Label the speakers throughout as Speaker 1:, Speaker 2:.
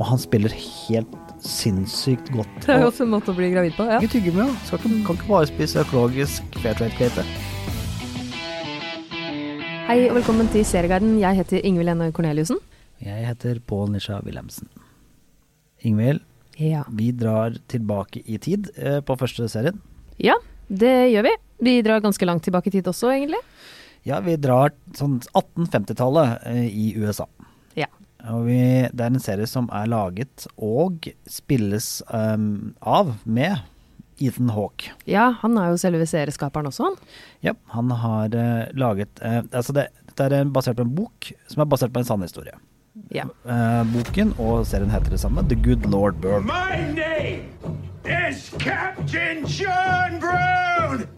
Speaker 1: Og han spiller helt sinnssykt godt.
Speaker 2: Det er jo
Speaker 1: Og
Speaker 2: også en måte å bli gravid på. Ja.
Speaker 1: ikke tyggegummi, ja. Skal ikke, kan ikke bare spise økologisk fair trade-kake.
Speaker 2: Hei og velkommen til Serieguiden. Jeg heter Ingvild Enne Korneliussen.
Speaker 1: Jeg heter Pål Nisha Wilhelmsen. Ingvild,
Speaker 2: Ja.
Speaker 1: vi drar tilbake i tid eh, på første serien.
Speaker 2: ja, det gjør vi. Vi drar ganske langt tilbake i tid også, egentlig.
Speaker 1: Ja, vi drar sånn 1850-tallet eh, i USA.
Speaker 2: Ja.
Speaker 1: Og vi, det er en serie som er laget og spilles ehm, av med Ethan Hawke.
Speaker 2: Ja, han er jo selve serieskaperen også, han.
Speaker 1: Ja, han har eh, laget eh, Altså, det, dette er en- basert på en bok som er basert på en sann historie.
Speaker 2: Ja.
Speaker 1: Eh, boken og serien heter det samme, The Good Lord Bird.
Speaker 3: My name is Captain John Brown!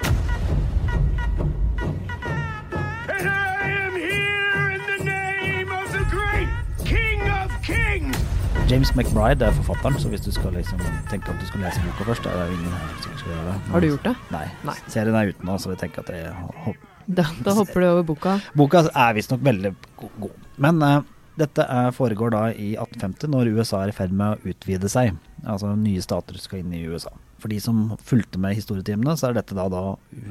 Speaker 3: And I am here in the name of the great King of Kings!
Speaker 1: James McBride er forfatteren, så hvis du skal liksom tenke at du skal lese boka først, er det jo ingen her som sikkert skal gjøre det. Men-
Speaker 2: Har du gjort det?
Speaker 1: Nei.
Speaker 2: Nei.
Speaker 1: Serien er ute nå, så vi tenker at det hopp-
Speaker 2: Da, da hopper du over boka.
Speaker 1: Boka er visstnok veldig go- god. Men eh, dette er, foregår da i 1850, når USA er i ferd med å utvide seg. Altså nye stater skal inn i USA. For de som fulgte med i historietimene, så er dette da, da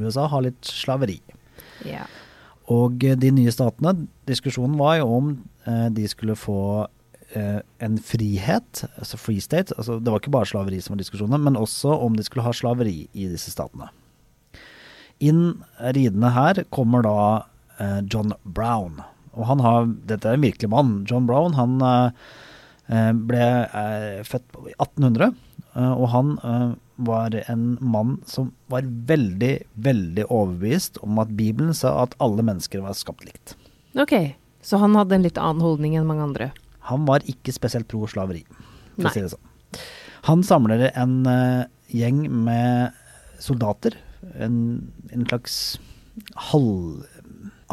Speaker 1: USA har litt slaveri.
Speaker 2: Ja.
Speaker 1: Og eh, de nye statene, diskusjonen var jo om eh, de skulle få eh, en frihet, altså free state. Altså, det var ikke bare slaveri som var diskusjonen, men også om de skulle ha slaveri i disse statene. Inn ridende her kommer da eh, John Brown. Og han har, dette er en virkelig mann. John Brown han eh, eh, ble eh, født på- i 1800, eh, og han eh, var en mann som var veldig, veldig overbevist om at Bibelen sa at alle mennesker var skapt likt.
Speaker 2: Ok, så han hadde en litt annen holdning enn mange andre.
Speaker 1: Han var ikke spesielt pro slaveri, for
Speaker 2: Nei.
Speaker 1: å si det sånn. Han samler en eh, gjeng med soldater, en, en slags halv...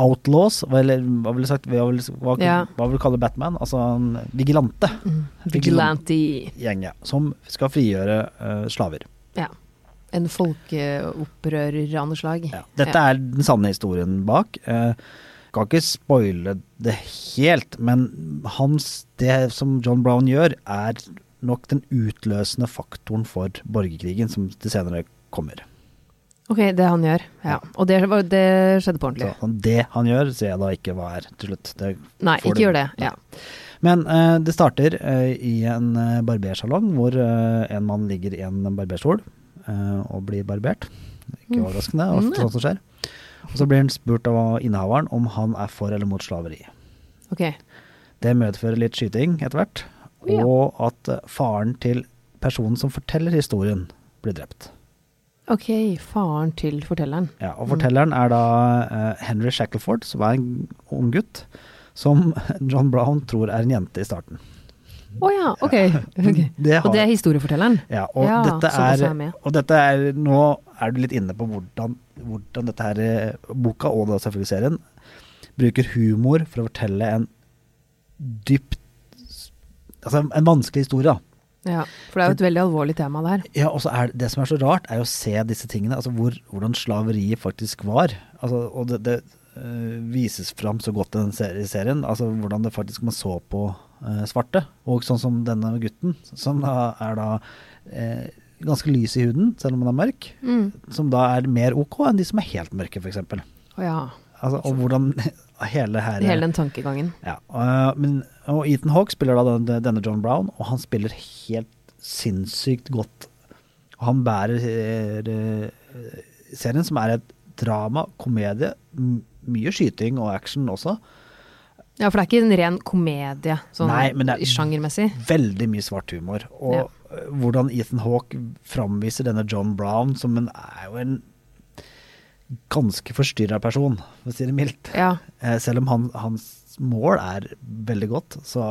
Speaker 1: Outlaws, eller hva ville sagt, hva vil, hva,
Speaker 2: Ja. Mm.
Speaker 1: hva vil du kalle Batman? Altså en vigilante.
Speaker 2: Vigilante.
Speaker 1: Gjeng, ja. Som skal frigjøre eh, slaver.
Speaker 2: Ja. En folkeopprører av noe slag.
Speaker 1: Ja. Dette er den sanne historien bak. Eh, Skal ikke spoile det helt, men hans, det som John Brown gjør, er nok den utløsende faktoren for borgerkrigen som til senere kommer.
Speaker 2: Ok, det han gjør. Ja. Og det, var, det skjedde på ordentlig.
Speaker 1: Så det han gjør, ser jeg da ikke hva er til slutt. Det
Speaker 2: Nei,
Speaker 1: får
Speaker 2: ikke gjør det.
Speaker 1: Nei.
Speaker 2: Ja.
Speaker 1: Men eh, det starter eh, i en eh, barbersalong hvor eh, en mann ligger i en barberstol eh, og blir barbert. Ikke overraskende, det er ofte sånt som skjer. Og så blir han spurt av innehaveren om han er for eller mot slaveri.
Speaker 2: Ok.
Speaker 1: Det medfører litt skyting etter hvert,
Speaker 2: Ja.
Speaker 1: og at eh, faren til personen som forteller historien, blir drept.
Speaker 2: Ok, faren til fortelleren.
Speaker 1: Ja, og fortelleren er da eh, Henry Shackleford, som er en ung gutt, som John Brown tror er en jente i starten.
Speaker 2: Å ja, ok. ok.
Speaker 1: Det har-
Speaker 2: Og det er historiefortelleren?
Speaker 1: Ja, og,
Speaker 2: Ja,
Speaker 1: dette
Speaker 2: som også
Speaker 1: er,
Speaker 2: er med.
Speaker 1: og dette er Nå er du litt inne på hvordan, hvordan dette her eh, boka, og da selvfølgelig serien, bruker humor for å fortelle en dypt Altså en vanskelig historie, da.
Speaker 2: Ja, for det er jo et veldig alvorlig tema der.
Speaker 1: Ja, og så er det, det som er så rart, er jo å se disse tingene. Altså hvor, hvordan slaveriet faktisk var. Altså, og det, det eh, vises fram så godt i den seri- serien. Altså hvordan det faktisk man så på eh, svarte. Og sånn som denne gutten, som da er da eh, ganske lys i huden, selv om han er mørk.
Speaker 2: Mm.
Speaker 1: Som da er mer ok enn de som er helt mørke, f.eks.
Speaker 2: Å ja.
Speaker 1: Altså, og hvordan hele her
Speaker 2: Hele den tankegangen.
Speaker 1: ja, og, men, og Ethan Hawke spiller da denne, denne John Brown, og han spiller helt sinnssykt godt. Og han bærer eh, eh, serien, som er et drama, komedie, m- mye skyting og action også.
Speaker 2: Ja, for det er ikke en ren komedie, sånn
Speaker 1: Nei, men det er-
Speaker 2: sjangermessig.
Speaker 1: Veldig mye svart humor. Og
Speaker 2: Ja.
Speaker 1: eh, hvordan Ethan Hawke framviser denne John Brown, som en, er jo en ganske forstyrra person, for å si det mildt.
Speaker 2: Ja,
Speaker 1: Eh, selv om han, hans mål er veldig godt, så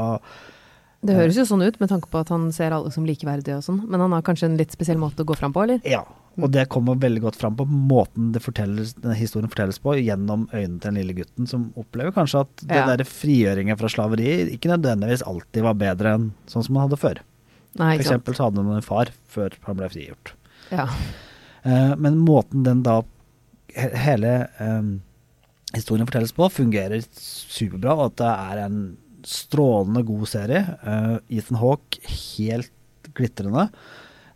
Speaker 2: det høres jo sånn ut med tanke på at han ser alle som likeverdige og sånn, men han har kanskje en litt spesiell måte å gå fram på, eller?
Speaker 1: Ja, og det kommer veldig godt fram på måten det fortelles, denne historien fortelles på, gjennom øynene til den lille gutten, som opplever kanskje at den
Speaker 2: Ja.
Speaker 1: der frigjøringen fra slaveri ikke nødvendigvis alltid var bedre enn sånn som han hadde før. For
Speaker 2: Nei, ikke sant.
Speaker 1: eksempel så hadde han en far før han ble frigjort.
Speaker 2: Ja.
Speaker 1: Eh, men måten den da he- hele eh, historien fortelles på, fungerer superbra, og at det er en strålende god serie. Eh, Ethan Hawke helt glitrende.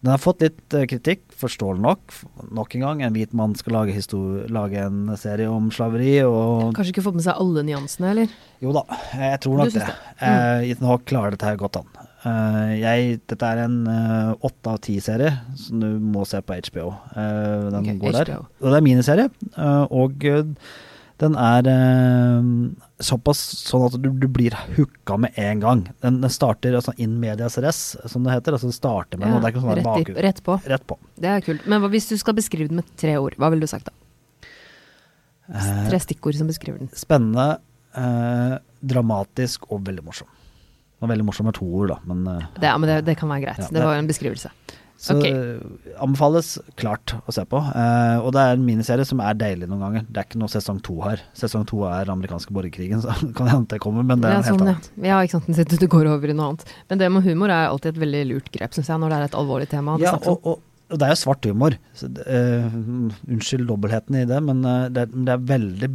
Speaker 1: Den har fått litt eh, kritikk, forståelig nok. F- Nok en gang, en hvit mann skal lage, histor- lage en serie om slaveri, og
Speaker 2: Kanskje ikke fått med seg alle nyansene, eller?
Speaker 1: jo da, jeg tror nok
Speaker 2: Du Mm.
Speaker 1: det.
Speaker 2: syns
Speaker 1: Eh, Ethan Hawke klarer dette her godt an. Eh, jeg, dette er en eh, åtte av ti-serie som du må se på HBO. Eh, den
Speaker 2: Ok,
Speaker 1: går der.
Speaker 2: HBO.
Speaker 1: Og det er miniserie, eh, og eh, den er eh, såpass sånn at du, du blir hooka med en gang. Den, den starter altså in medias res, som det heter. Altså den starter med noe. Det er ikke sånn der
Speaker 2: rett, i,
Speaker 1: bakgrunn.
Speaker 2: rett på.
Speaker 1: Rett på.
Speaker 2: Det er kult. Men hva, hvis du skal beskrive den med tre ord, hva ville du sagt da?
Speaker 1: Eh,
Speaker 2: Tre stikkord som beskriver den.
Speaker 1: spennende, eh, dramatisk og veldig morsom. Det var veldig morsom med to ord, da, men eh,
Speaker 2: Det, ja, men det, det kan være greit.
Speaker 1: Ja,
Speaker 2: det
Speaker 1: det-
Speaker 2: var en beskrivelse.
Speaker 1: Så
Speaker 2: Ok.
Speaker 1: eh, anbefales klart å se på. Eh, og det er en miniserie som er deilig noen ganger. Det er ikke noe sesong to her. Sesong to er amerikanske borgerkrigen, så kan jeg hende det kommer, men det er
Speaker 2: Ja,
Speaker 1: en helt
Speaker 2: sånn, ja.
Speaker 1: annet.
Speaker 2: ja, ikke sant. Den sitter du går over i noe annet. Men det med humor er alltid et veldig lurt grep, syns jeg, når det er et alvorlig tema. det
Speaker 1: Ja,
Speaker 2: snakkes om.
Speaker 1: og, og, og det er jo svart humor. Så, det- eh, unnskyld dobbeltheten i det, men eh, det, er- men det er veldig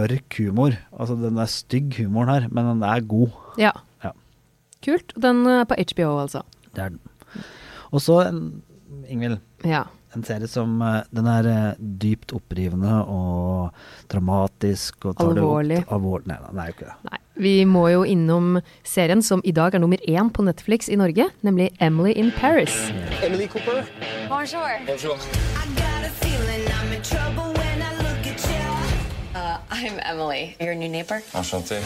Speaker 1: mørk humor. Altså den er stygg humoren her, men den er god.
Speaker 2: ja.
Speaker 1: Ja.
Speaker 2: Kult. Den er på HBO, altså.
Speaker 1: Det er den. Og så, en- Ingvild,
Speaker 2: Ja.
Speaker 1: en serie som eh, Den er eh, dypt opprivende og dramatisk og tar det
Speaker 2: Alvorlig.
Speaker 1: Opp, alvorlig. Nei, den er jo ikke det.
Speaker 2: Nei. Vi må jo innom serien som i dag er nummer én på Netflix i Norge, nemlig Emily in Paris.
Speaker 4: Emily Cooper.
Speaker 5: Bonjour.
Speaker 4: Bonjour.
Speaker 6: I got a feeling I'm in trouble when I look at you.
Speaker 5: Uh, I'm Emily, your new neighbor.
Speaker 4: Enchanté.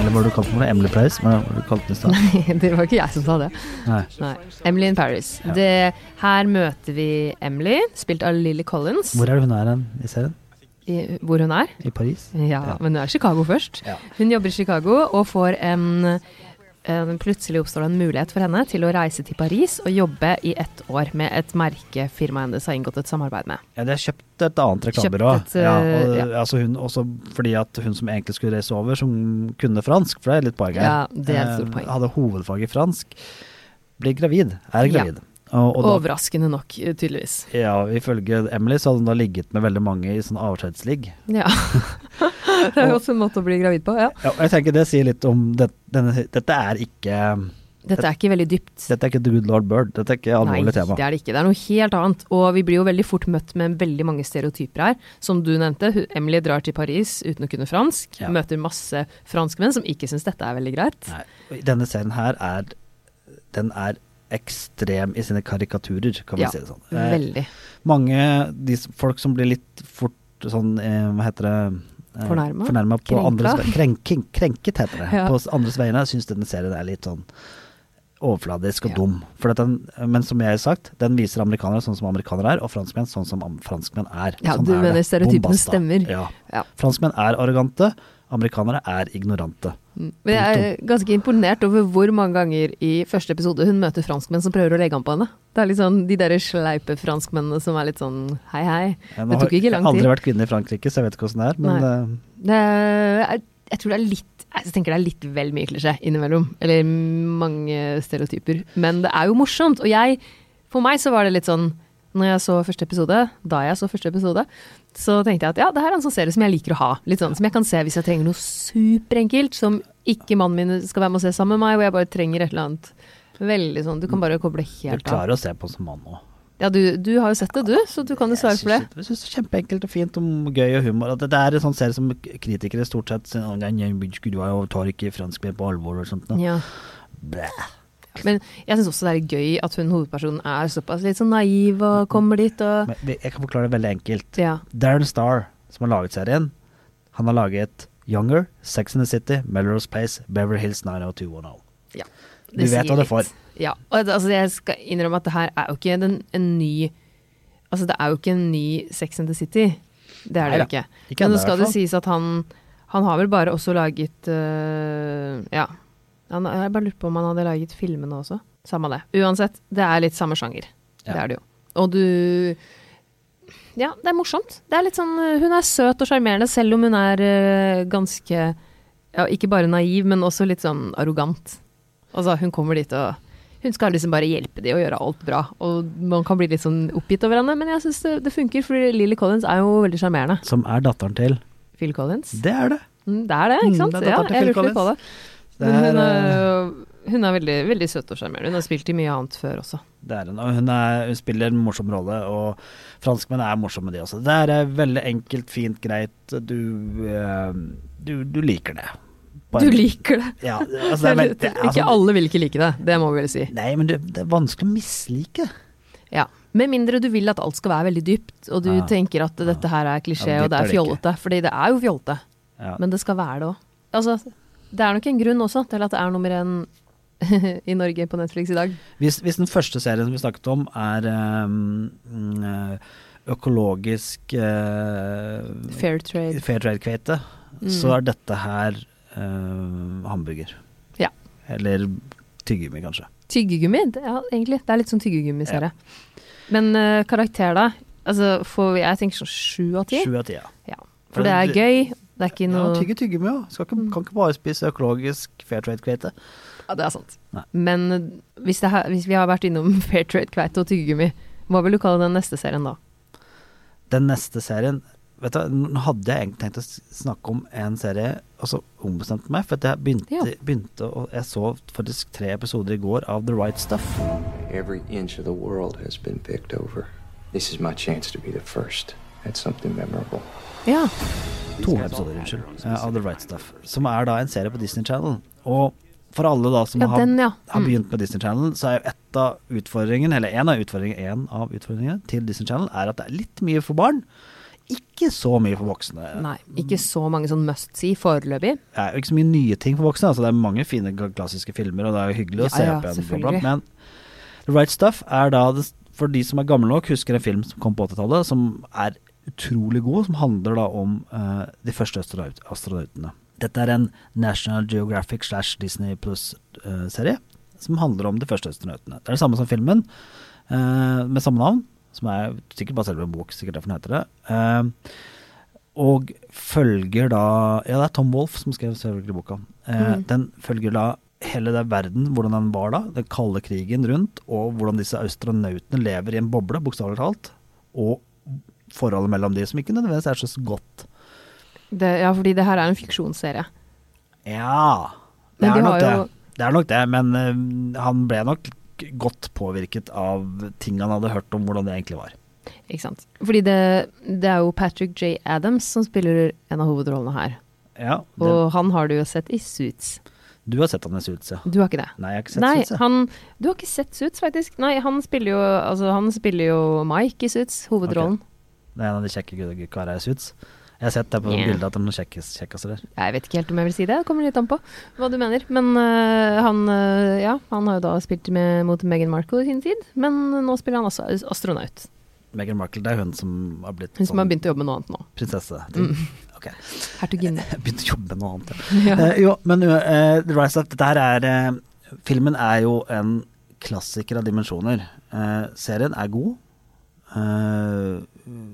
Speaker 1: Eller hva du kalte den? Emily Price? Hva var det du kalte den i stad?
Speaker 2: det var ikke jeg som sa det.
Speaker 1: Nei.
Speaker 2: Nei. Emily in Paris. Det, her møter vi Emily, spilt av Lily Collins,
Speaker 1: Hvor er det hun er hen i serien?
Speaker 2: i, hvor hun er.
Speaker 1: I Paris?
Speaker 2: Ja, men hun er i Chicago først.
Speaker 1: Ja.
Speaker 2: Hun jobber i Chicago og får en, en Plutselig oppstår det en mulighet for henne til å reise til Paris og jobbe i ett år med et merke firmaet hennes har inngått et samarbeid med.
Speaker 1: Ja, de har kjøpt et annet reklamebyrå.
Speaker 2: Kjøpt et, eh,
Speaker 1: ja, og,
Speaker 2: ja.
Speaker 1: altså hun, også fordi at hun som egentlig skulle reise over, som kunne fransk, for det er litt poeng her,
Speaker 2: Ja, det er et stort
Speaker 1: eh,
Speaker 2: poeng.
Speaker 1: hadde hovedfag i fransk, blir gravid, er
Speaker 2: Ja.
Speaker 1: gravid. Og, og da,
Speaker 2: Overraskende nok, tydeligvis.
Speaker 1: ja, ifølge Emily så hadde hun da ligget med veldig mange i sånn avskjedsligg.
Speaker 2: Ja. det er jo også en måte å bli gravid på. Ja.
Speaker 1: Ja, og jeg tenker det sier litt om det, denne, Dette er ikke
Speaker 2: Dette er ikke veldig dypt.
Speaker 1: Dette er ikke The Good Lord Bird, dette er ikke alvorlig tema.
Speaker 2: det er det ikke. Det er noe helt annet. Og vi blir jo veldig fort møtt med veldig mange stereotyper her. Som du nevnte, hun- Emily drar til Paris uten å kunne fransk.
Speaker 1: Ja.
Speaker 2: Møter masse franskmenn som ikke syns dette er veldig greit.
Speaker 1: Nei. og Denne serien her er Den er ekstrem i sine karikaturer, kan vi
Speaker 2: Ja,
Speaker 1: si det sånn. Eh,
Speaker 2: veldig.
Speaker 1: mange de, s- folk som blir litt fort sånn eh, Hva heter det? Eh,
Speaker 2: Fornærma?
Speaker 1: fornærma på
Speaker 2: Krenka?
Speaker 1: andres ve- krenking, Krenket, heter det.
Speaker 2: Ja.
Speaker 1: På s- andres vegne. Jeg syns denne serien er litt sånn overfladisk og
Speaker 2: Ja.
Speaker 1: dum. For at den, men som jeg har sagt, den viser amerikanere sånn som amerikanere er, og franskmenn sånn som am- franskmenn er.
Speaker 2: Ja,
Speaker 1: sånn
Speaker 2: du
Speaker 1: er det.
Speaker 2: mener stereotypene
Speaker 1: Bombasta.
Speaker 2: stemmer.
Speaker 1: Ja.
Speaker 2: Ja.
Speaker 1: Franskmenn er arrogante, amerikanere er ignorante.
Speaker 2: Men jeg er ganske imponert over hvor mange ganger i første episode hun møter franskmenn som prøver å legge an på henne. Det er litt sånn de derre sleipe franskmennene som er litt sånn hei, hei.
Speaker 1: Ja, nå
Speaker 2: Det tok
Speaker 1: har-
Speaker 2: ikke
Speaker 1: jeg
Speaker 2: lang
Speaker 1: har
Speaker 2: tid.
Speaker 1: aldri vært kvinne i Frankrike, så jeg vet ikke åssen det er. Men
Speaker 2: Nei.
Speaker 1: eh,
Speaker 2: Det er, jeg, jeg tror det er litt jeg tenker det er litt vel mye klisjé innimellom. Eller mange stereotyper. Men det er jo morsomt. Og jeg, for meg så var det litt sånn når jeg så første episode, da jeg så første episode, så tenkte jeg at ja, det her er en sånn serie som jeg liker å ha. Litt sånn som jeg kan se hvis jeg trenger noe superenkelt, som ikke mannen min skal være med og se sammen med meg, hvor jeg bare trenger et eller annet veldig sånn Du kan bare koble
Speaker 1: du
Speaker 2: helt av.
Speaker 1: klarer å se på den som mann òg.
Speaker 2: Ja, du, du har jo sett det, du, så du kan jo svare for det.
Speaker 1: Jeg syns det er kjempeenkelt og fint om gøy og humor. At det er en sånn serie som kritikere stort sett sier «Å, den er- skulle du ha, og tar ikke fransk mer på alvor og sånt. Da.
Speaker 2: Ja. Men jeg syns også det er gøy at hun hovedpersonen er såpass litt sånn naiv og kommer dit og
Speaker 1: Men vi- jeg kan forklare det veldig enkelt.
Speaker 2: Ja.
Speaker 1: Darren Starr, som har laget serien, han har laget Younger, Sex in the City, Melrose Place, Beverly Hills 90210.
Speaker 2: ja
Speaker 1: Du vet
Speaker 2: sier
Speaker 1: hva du
Speaker 2: litt.
Speaker 1: får.
Speaker 2: Ja. Og det- altså, jeg skal innrømme at det her er jo ikke den, en ny Altså, det er jo ikke en ny Sex and the City. Det er det jo
Speaker 1: Neida.
Speaker 2: ikke.
Speaker 1: Ikke
Speaker 2: Men
Speaker 1: ennå,
Speaker 2: nå
Speaker 1: i
Speaker 2: skal
Speaker 1: hvert
Speaker 2: det
Speaker 1: fall.
Speaker 2: sies at han Han har vel bare også laget øh, Ja. Han, jeg bare lurte på om han hadde laget filmene også. Samme det. Uansett, det er litt samme sjanger.
Speaker 1: Ja.
Speaker 2: Det er det jo. Og du Ja, det er morsomt. Det er litt sånn øh, Hun er søt og sjarmerende, selv om hun er øh, ganske ja, Ikke bare naiv, men også litt sånn arrogant. Altså, hun kommer dit og hun skal liksom bare hjelpe de og gjøre alt bra. Og man kan bli litt sånn oppgitt over henne, men jeg syns det, det funker, for Lily Collins er jo veldig sjarmerende.
Speaker 1: Som er datteren til
Speaker 2: Phil Collins.
Speaker 1: Det er det!
Speaker 2: Mm, Det er det, ikke
Speaker 1: Mm,
Speaker 2: sant?
Speaker 1: det er
Speaker 2: ja,
Speaker 1: datteren til Phil
Speaker 2: jeg lurte litt på det.
Speaker 1: Det
Speaker 2: Men
Speaker 1: er,
Speaker 2: hun er,
Speaker 1: eh,
Speaker 2: jo- hun er veldig, veldig søt og sjarmerende. Hun har spilt i mye annet før også.
Speaker 1: det er hun, og hun, er, hun spiller en morsom rolle, og franskmenn er morsomme, de også. Det er eh, veldig enkelt, fint, greit. Du, eh, du, du liker det. Bare-
Speaker 2: Du liker det!
Speaker 1: ja, altså, det er, veldig- det er,
Speaker 2: Ikke
Speaker 1: sånn-
Speaker 2: alle vil ikke like det, det må vi vel si.
Speaker 1: Nei, men det, det er vanskelig å mislike.
Speaker 2: Ja. Med mindre du vil at alt skal være veldig dypt, og du
Speaker 1: Ja.
Speaker 2: tenker at dette her er klisjé
Speaker 1: Ja,
Speaker 2: og det
Speaker 1: dypt er
Speaker 2: er
Speaker 1: det ikke.
Speaker 2: fjollete. Fordi det er jo fjollete,
Speaker 1: Ja.
Speaker 2: men det skal være det òg. Altså, det er nok en grunn også til at det er nummer én i Norge på Netflix i dag.
Speaker 1: Hvis, hvis den første serien som vi snakket om er eh, mm, eh, økologisk eh,
Speaker 2: Fair trade. Mm.
Speaker 1: fair trade-kveite, så er dette her eh, hamburger.
Speaker 2: Ja.
Speaker 1: Eller tyggegummi, kanskje.
Speaker 2: Tyggegummi, det, ja, egentlig. Det er litt sånn tyggegummiserie. Men eh, karakter, da? Altså, får vi, jeg tenker sånn sju av ti.
Speaker 1: Sju av ti, ja.
Speaker 2: Ja. For det er gøy. Det er ikke
Speaker 1: Ja,
Speaker 2: noe Mm.
Speaker 1: tygge tyggegummi, ja. Skal ikke, kan ikke bare spise økologisk fair trade-kveite.
Speaker 2: Ja, det er sant.
Speaker 1: Nei.
Speaker 2: Men eh, hvis, det her, hvis vi har vært innom Fair Trade Kveite og tyggegummi, hva vil du kalle den neste serien da?
Speaker 1: Den neste serien Vet du, Nå hadde jeg egentlig tenkt å s- snakke om en serie, og så ombestemte jeg meg. For at jeg begynte,
Speaker 2: Ja.
Speaker 1: begynte å Jeg så faktisk tre episoder i går av The Right Stuff.
Speaker 4: Every inch of the world has been picked over. This is my chance to be the first at something memorable.
Speaker 2: Ja.
Speaker 1: To episoder, unnskyld, eh, av The Right Stuff. Som er da en serie på Disney Channel. Og for alle da som
Speaker 2: Ja,
Speaker 1: har,
Speaker 2: den, ja.
Speaker 1: har
Speaker 2: Mm.
Speaker 1: begynt med Disney Channel, så er jo ett av utfordringene, eller en av utfordringene, en av utfordringene til Disney Channel, er at det er litt mye for barn. Ikke så mye for voksne.
Speaker 2: Nei, ikke så mange sånn must see foreløpig.
Speaker 1: Det er jo ikke så mye nye ting for voksne. Altså det er mange fine ga- klassiske filmer, og det er jo hyggelig å
Speaker 2: Ja,
Speaker 1: se
Speaker 2: ja,
Speaker 1: opp igjen. bla, bla,
Speaker 2: selvfølgelig.
Speaker 1: Men The Right Stuff er da det, For de som er gamle nok, husker en film som kom på 80-tallet, som er utrolig god, som handler da om eh, de første astronaut astronautene. Dette er en National Geographic slash Disney Plus-serie som handler om de første astronautene. Det er det samme som filmen, eh, med samme navn, som er sikkert basert på en bok, sikkert derfor den heter det. Eh, og følger da Ja, det er Tom Wolff som skrev selvfølgelig boka. Eh,
Speaker 2: Mm.
Speaker 1: Den følger da hele den verden, hvordan den var da, den kalde krigen rundt, og hvordan disse astronautene lever i en boble, bokstavelig talt, og forholdet mellom de som ikke nødvendigvis er så godt.
Speaker 2: Det, ja, fordi det her er en fiksjonsserie.
Speaker 1: Ja, det
Speaker 2: Men de
Speaker 1: er nok
Speaker 2: har
Speaker 1: det.
Speaker 2: jo-
Speaker 1: Det er nok det, men eh, han ble nok godt påvirket av ting han hadde hørt om hvordan det egentlig var.
Speaker 2: Ikke sant? Fordi det, det er jo Patrick J. Adams som spiller en av hovedrollene her.
Speaker 1: Ja, det,
Speaker 2: Og han har du jo sett i Suits.
Speaker 1: du har sett han i Suits, ja.
Speaker 2: Du har ikke det?
Speaker 1: Nei, jeg har ikke sett
Speaker 2: Nei,
Speaker 1: Suits, jeg.
Speaker 2: han, du har ikke sett Suits, faktisk. Nei, han spiller jo, altså, han spiller jo Mike i Suits, hovedrollen.
Speaker 1: Det er en av de kjekke gud- karene i Suits. Jeg har sett det på
Speaker 2: Ja.
Speaker 1: bildet at de er noen kjekkes- kjekkaser der.
Speaker 2: Jeg vet ikke helt om jeg vil si det, det kommer litt an på hva du mener. Men øh, han, øh, ja, han har jo da spilt med, mot Meghan Markle i sin tid, men nå spiller han altså astronaut.
Speaker 1: Meghan Markle, det er hun som har blitt
Speaker 2: Hun som
Speaker 1: sånn
Speaker 2: har begynt å Mm. jobbe med noe annet nå.
Speaker 1: prinsesse. Ok.
Speaker 2: Hertuginne.
Speaker 1: Jeg begynte å jobbe med noe annet. Ja. Eh, jo, men eh, The Rise of Dette her er eh, Filmen er jo en klassiker av dimensjoner. Eh, serien er god. eh,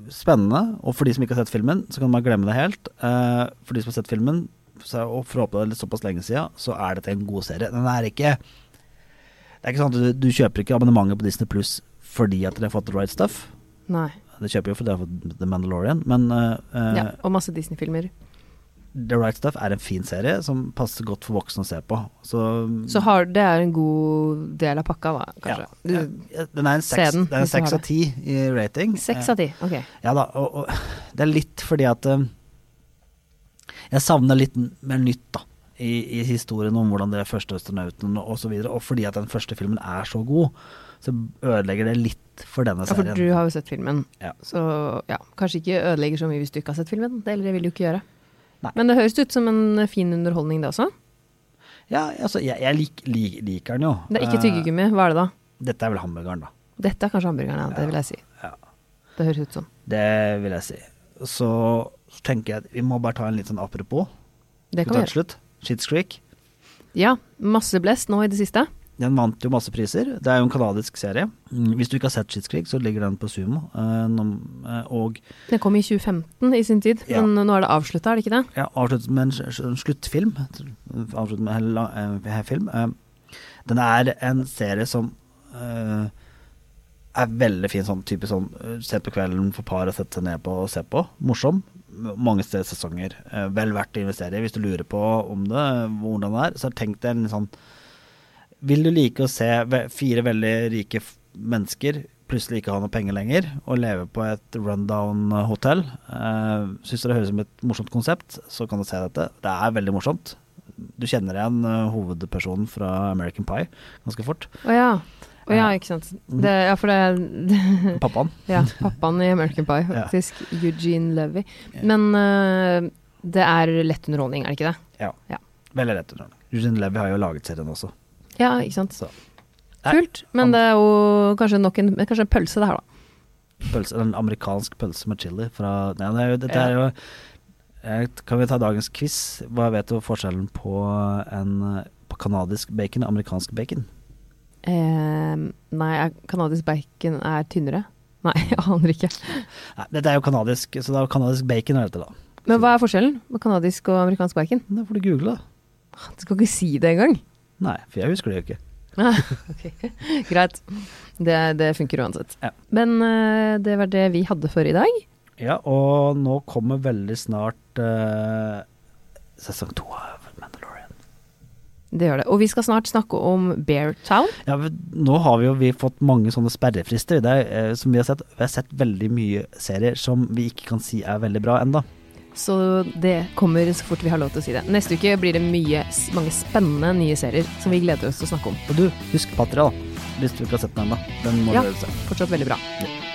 Speaker 1: spennende. Og for de som ikke har sett filmen, så kan man glemme det helt. Eh, for de som har sett filmen, så, og forhåpentligvis såpass lenge siden, så er dette en god serie. Den er ikke Det er ikke sånn at du, du kjøper ikke abonnementet på Disney Pluss fordi at dere har fått The Right Stuff.
Speaker 2: Nei.
Speaker 1: Det kjøper jo fordi dere har fått The Mandalorian, men eh, eh,
Speaker 2: Ja, og masse Disney-filmer.
Speaker 1: The Right Stuff er en fin serie som passer godt for voksne å se på. Så,
Speaker 2: Så har, det er en god del av pakka, da, kanskje.
Speaker 1: ja,
Speaker 2: Du-
Speaker 1: ja, den er en
Speaker 2: se
Speaker 1: seks-
Speaker 2: den,
Speaker 1: den er en
Speaker 2: hvis du har
Speaker 1: seks av
Speaker 2: det.
Speaker 1: ti i rating. Eh,
Speaker 2: Seks av ti, ok.
Speaker 1: Ja da, og, og det er litt fordi at eh, Jeg savner litt n- mer nytt, da. I, I historien om hvordan det er første astronauten og så videre. Og fordi at den første filmen er så god, så ødelegger det litt for denne
Speaker 2: Ja, for
Speaker 1: serien.
Speaker 2: du har jo sett filmen,
Speaker 1: Ja.
Speaker 2: så ja, kanskje ikke ødelegger så mye hvis du ikke har sett filmen. Det, eller det vil du ikke gjøre.
Speaker 1: Nei.
Speaker 2: Men det høres ut som en eh, fin underholdning, det også.
Speaker 1: Ja, altså, jeg, jeg lik, lik, liker den jo.
Speaker 2: Det er ikke
Speaker 1: Eh,
Speaker 2: tyggegummi, hva er det da?
Speaker 1: Dette er vel hamburgeren, da.
Speaker 2: Dette er kanskje hamburgeren, ja. Det vil jeg si.
Speaker 1: Ja.
Speaker 2: Det høres ut som.
Speaker 1: Det vil jeg si. Så, så tenker jeg at vi må bare ta en litt sånn apropos.
Speaker 2: Det
Speaker 1: Vi
Speaker 2: kan
Speaker 1: tar
Speaker 2: vi gjøre.
Speaker 1: til slutt. Shits Creek.
Speaker 2: Ja, masse blest nå i det siste.
Speaker 1: Den vant jo masse priser. Det er jo en kanadisk serie. Mm, Hvis du ikke har sett Shits Creek, så ligger den på Sumo. Eh, nom- eh, og
Speaker 2: Den kom i 2015 i sin tid,
Speaker 1: Ja.
Speaker 2: men nå er det avslutta, er det ikke det?
Speaker 1: ja, avsluttet med en sl- sl- en sluttfilm. Avsluttet med en la- eh, film. Eh, den er en serie som eh, er veldig fin, sånn typisk sånn eh, sent på kvelden for par å sette seg ned på og se på. Morsom. mange steder sesonger. Eh, Vel verdt å investere i. Hvis du lurer på om det, eh, hvordan det er, så tenk deg en sånn Vil du like å se ve- fire veldig rike f- mennesker plutselig ikke ha noe penger lenger, og leve på et rundown hotell? Eh, Syns du det høres ut som et morsomt konsept, så kan du se dette. Det er veldig morsomt. Du kjenner igjen eh, hovedpersonen fra American Pie ganske fort.
Speaker 2: Å ja. Å ja,
Speaker 1: Eh.
Speaker 2: ikke sant. Det, ja, for det
Speaker 1: Pappaen.
Speaker 2: Ja, pappaen i American Pie,
Speaker 1: Ja.
Speaker 2: faktisk. Eugene Levy. Men øh, det er lett underholdning, er det ikke det?
Speaker 1: Ja.
Speaker 2: Ja.
Speaker 1: Veldig lett underholdning. Eugene Levy har jo laget serien også.
Speaker 2: Ja, ikke sant.
Speaker 1: Så. Nei,
Speaker 2: Kult. Men
Speaker 1: han-
Speaker 2: det er jo kanskje nok en, men kanskje en pølse, det her, da.
Speaker 1: Pølse, en amerikansk pølse med chili fra Nei, det er jo, dette er jo eh, Kan vi ta dagens quiz? Hva vet du forskjellen på en eh, på kanadisk bacon og amerikansk bacon?
Speaker 2: Eh, nei, er- kanadisk bacon er tynnere. Nei, jeg aner ikke.
Speaker 1: Nei, dette er jo kanadisk, så det er jo kanadisk bacon er dette, da.
Speaker 2: Men hva er forskjellen på kanadisk og amerikansk bacon?
Speaker 1: Det får du google, da.
Speaker 2: Du skal ikke si det engang.
Speaker 1: Nei, for jeg husker det jo ikke.
Speaker 2: Greit. Det, det funker uansett.
Speaker 1: Ja.
Speaker 2: Men øh, det var det vi hadde for i dag.
Speaker 1: Ja, og nå kommer veldig snart eh, sesong to av Mandalorian.
Speaker 2: Det gjør det. Og vi skal snart snakke om Bear Town.
Speaker 1: Ja, men nå har vi jo vi fått mange sånne sperrefrister. Det er, eh, som vi har sett. Vi har sett veldig mye serier som vi ikke kan si er veldig bra enda.
Speaker 2: Så det kommer så fort vi har lov til å si det. Neste uke blir det mye, mange spennende nye serier som vi gleder oss til å snakke om.
Speaker 1: Og du, husk Patria, da. Hvis du ikke har sett den ennå. Den må
Speaker 2: Ja.
Speaker 1: du se.
Speaker 2: Fortsatt veldig bra.
Speaker 1: Ja.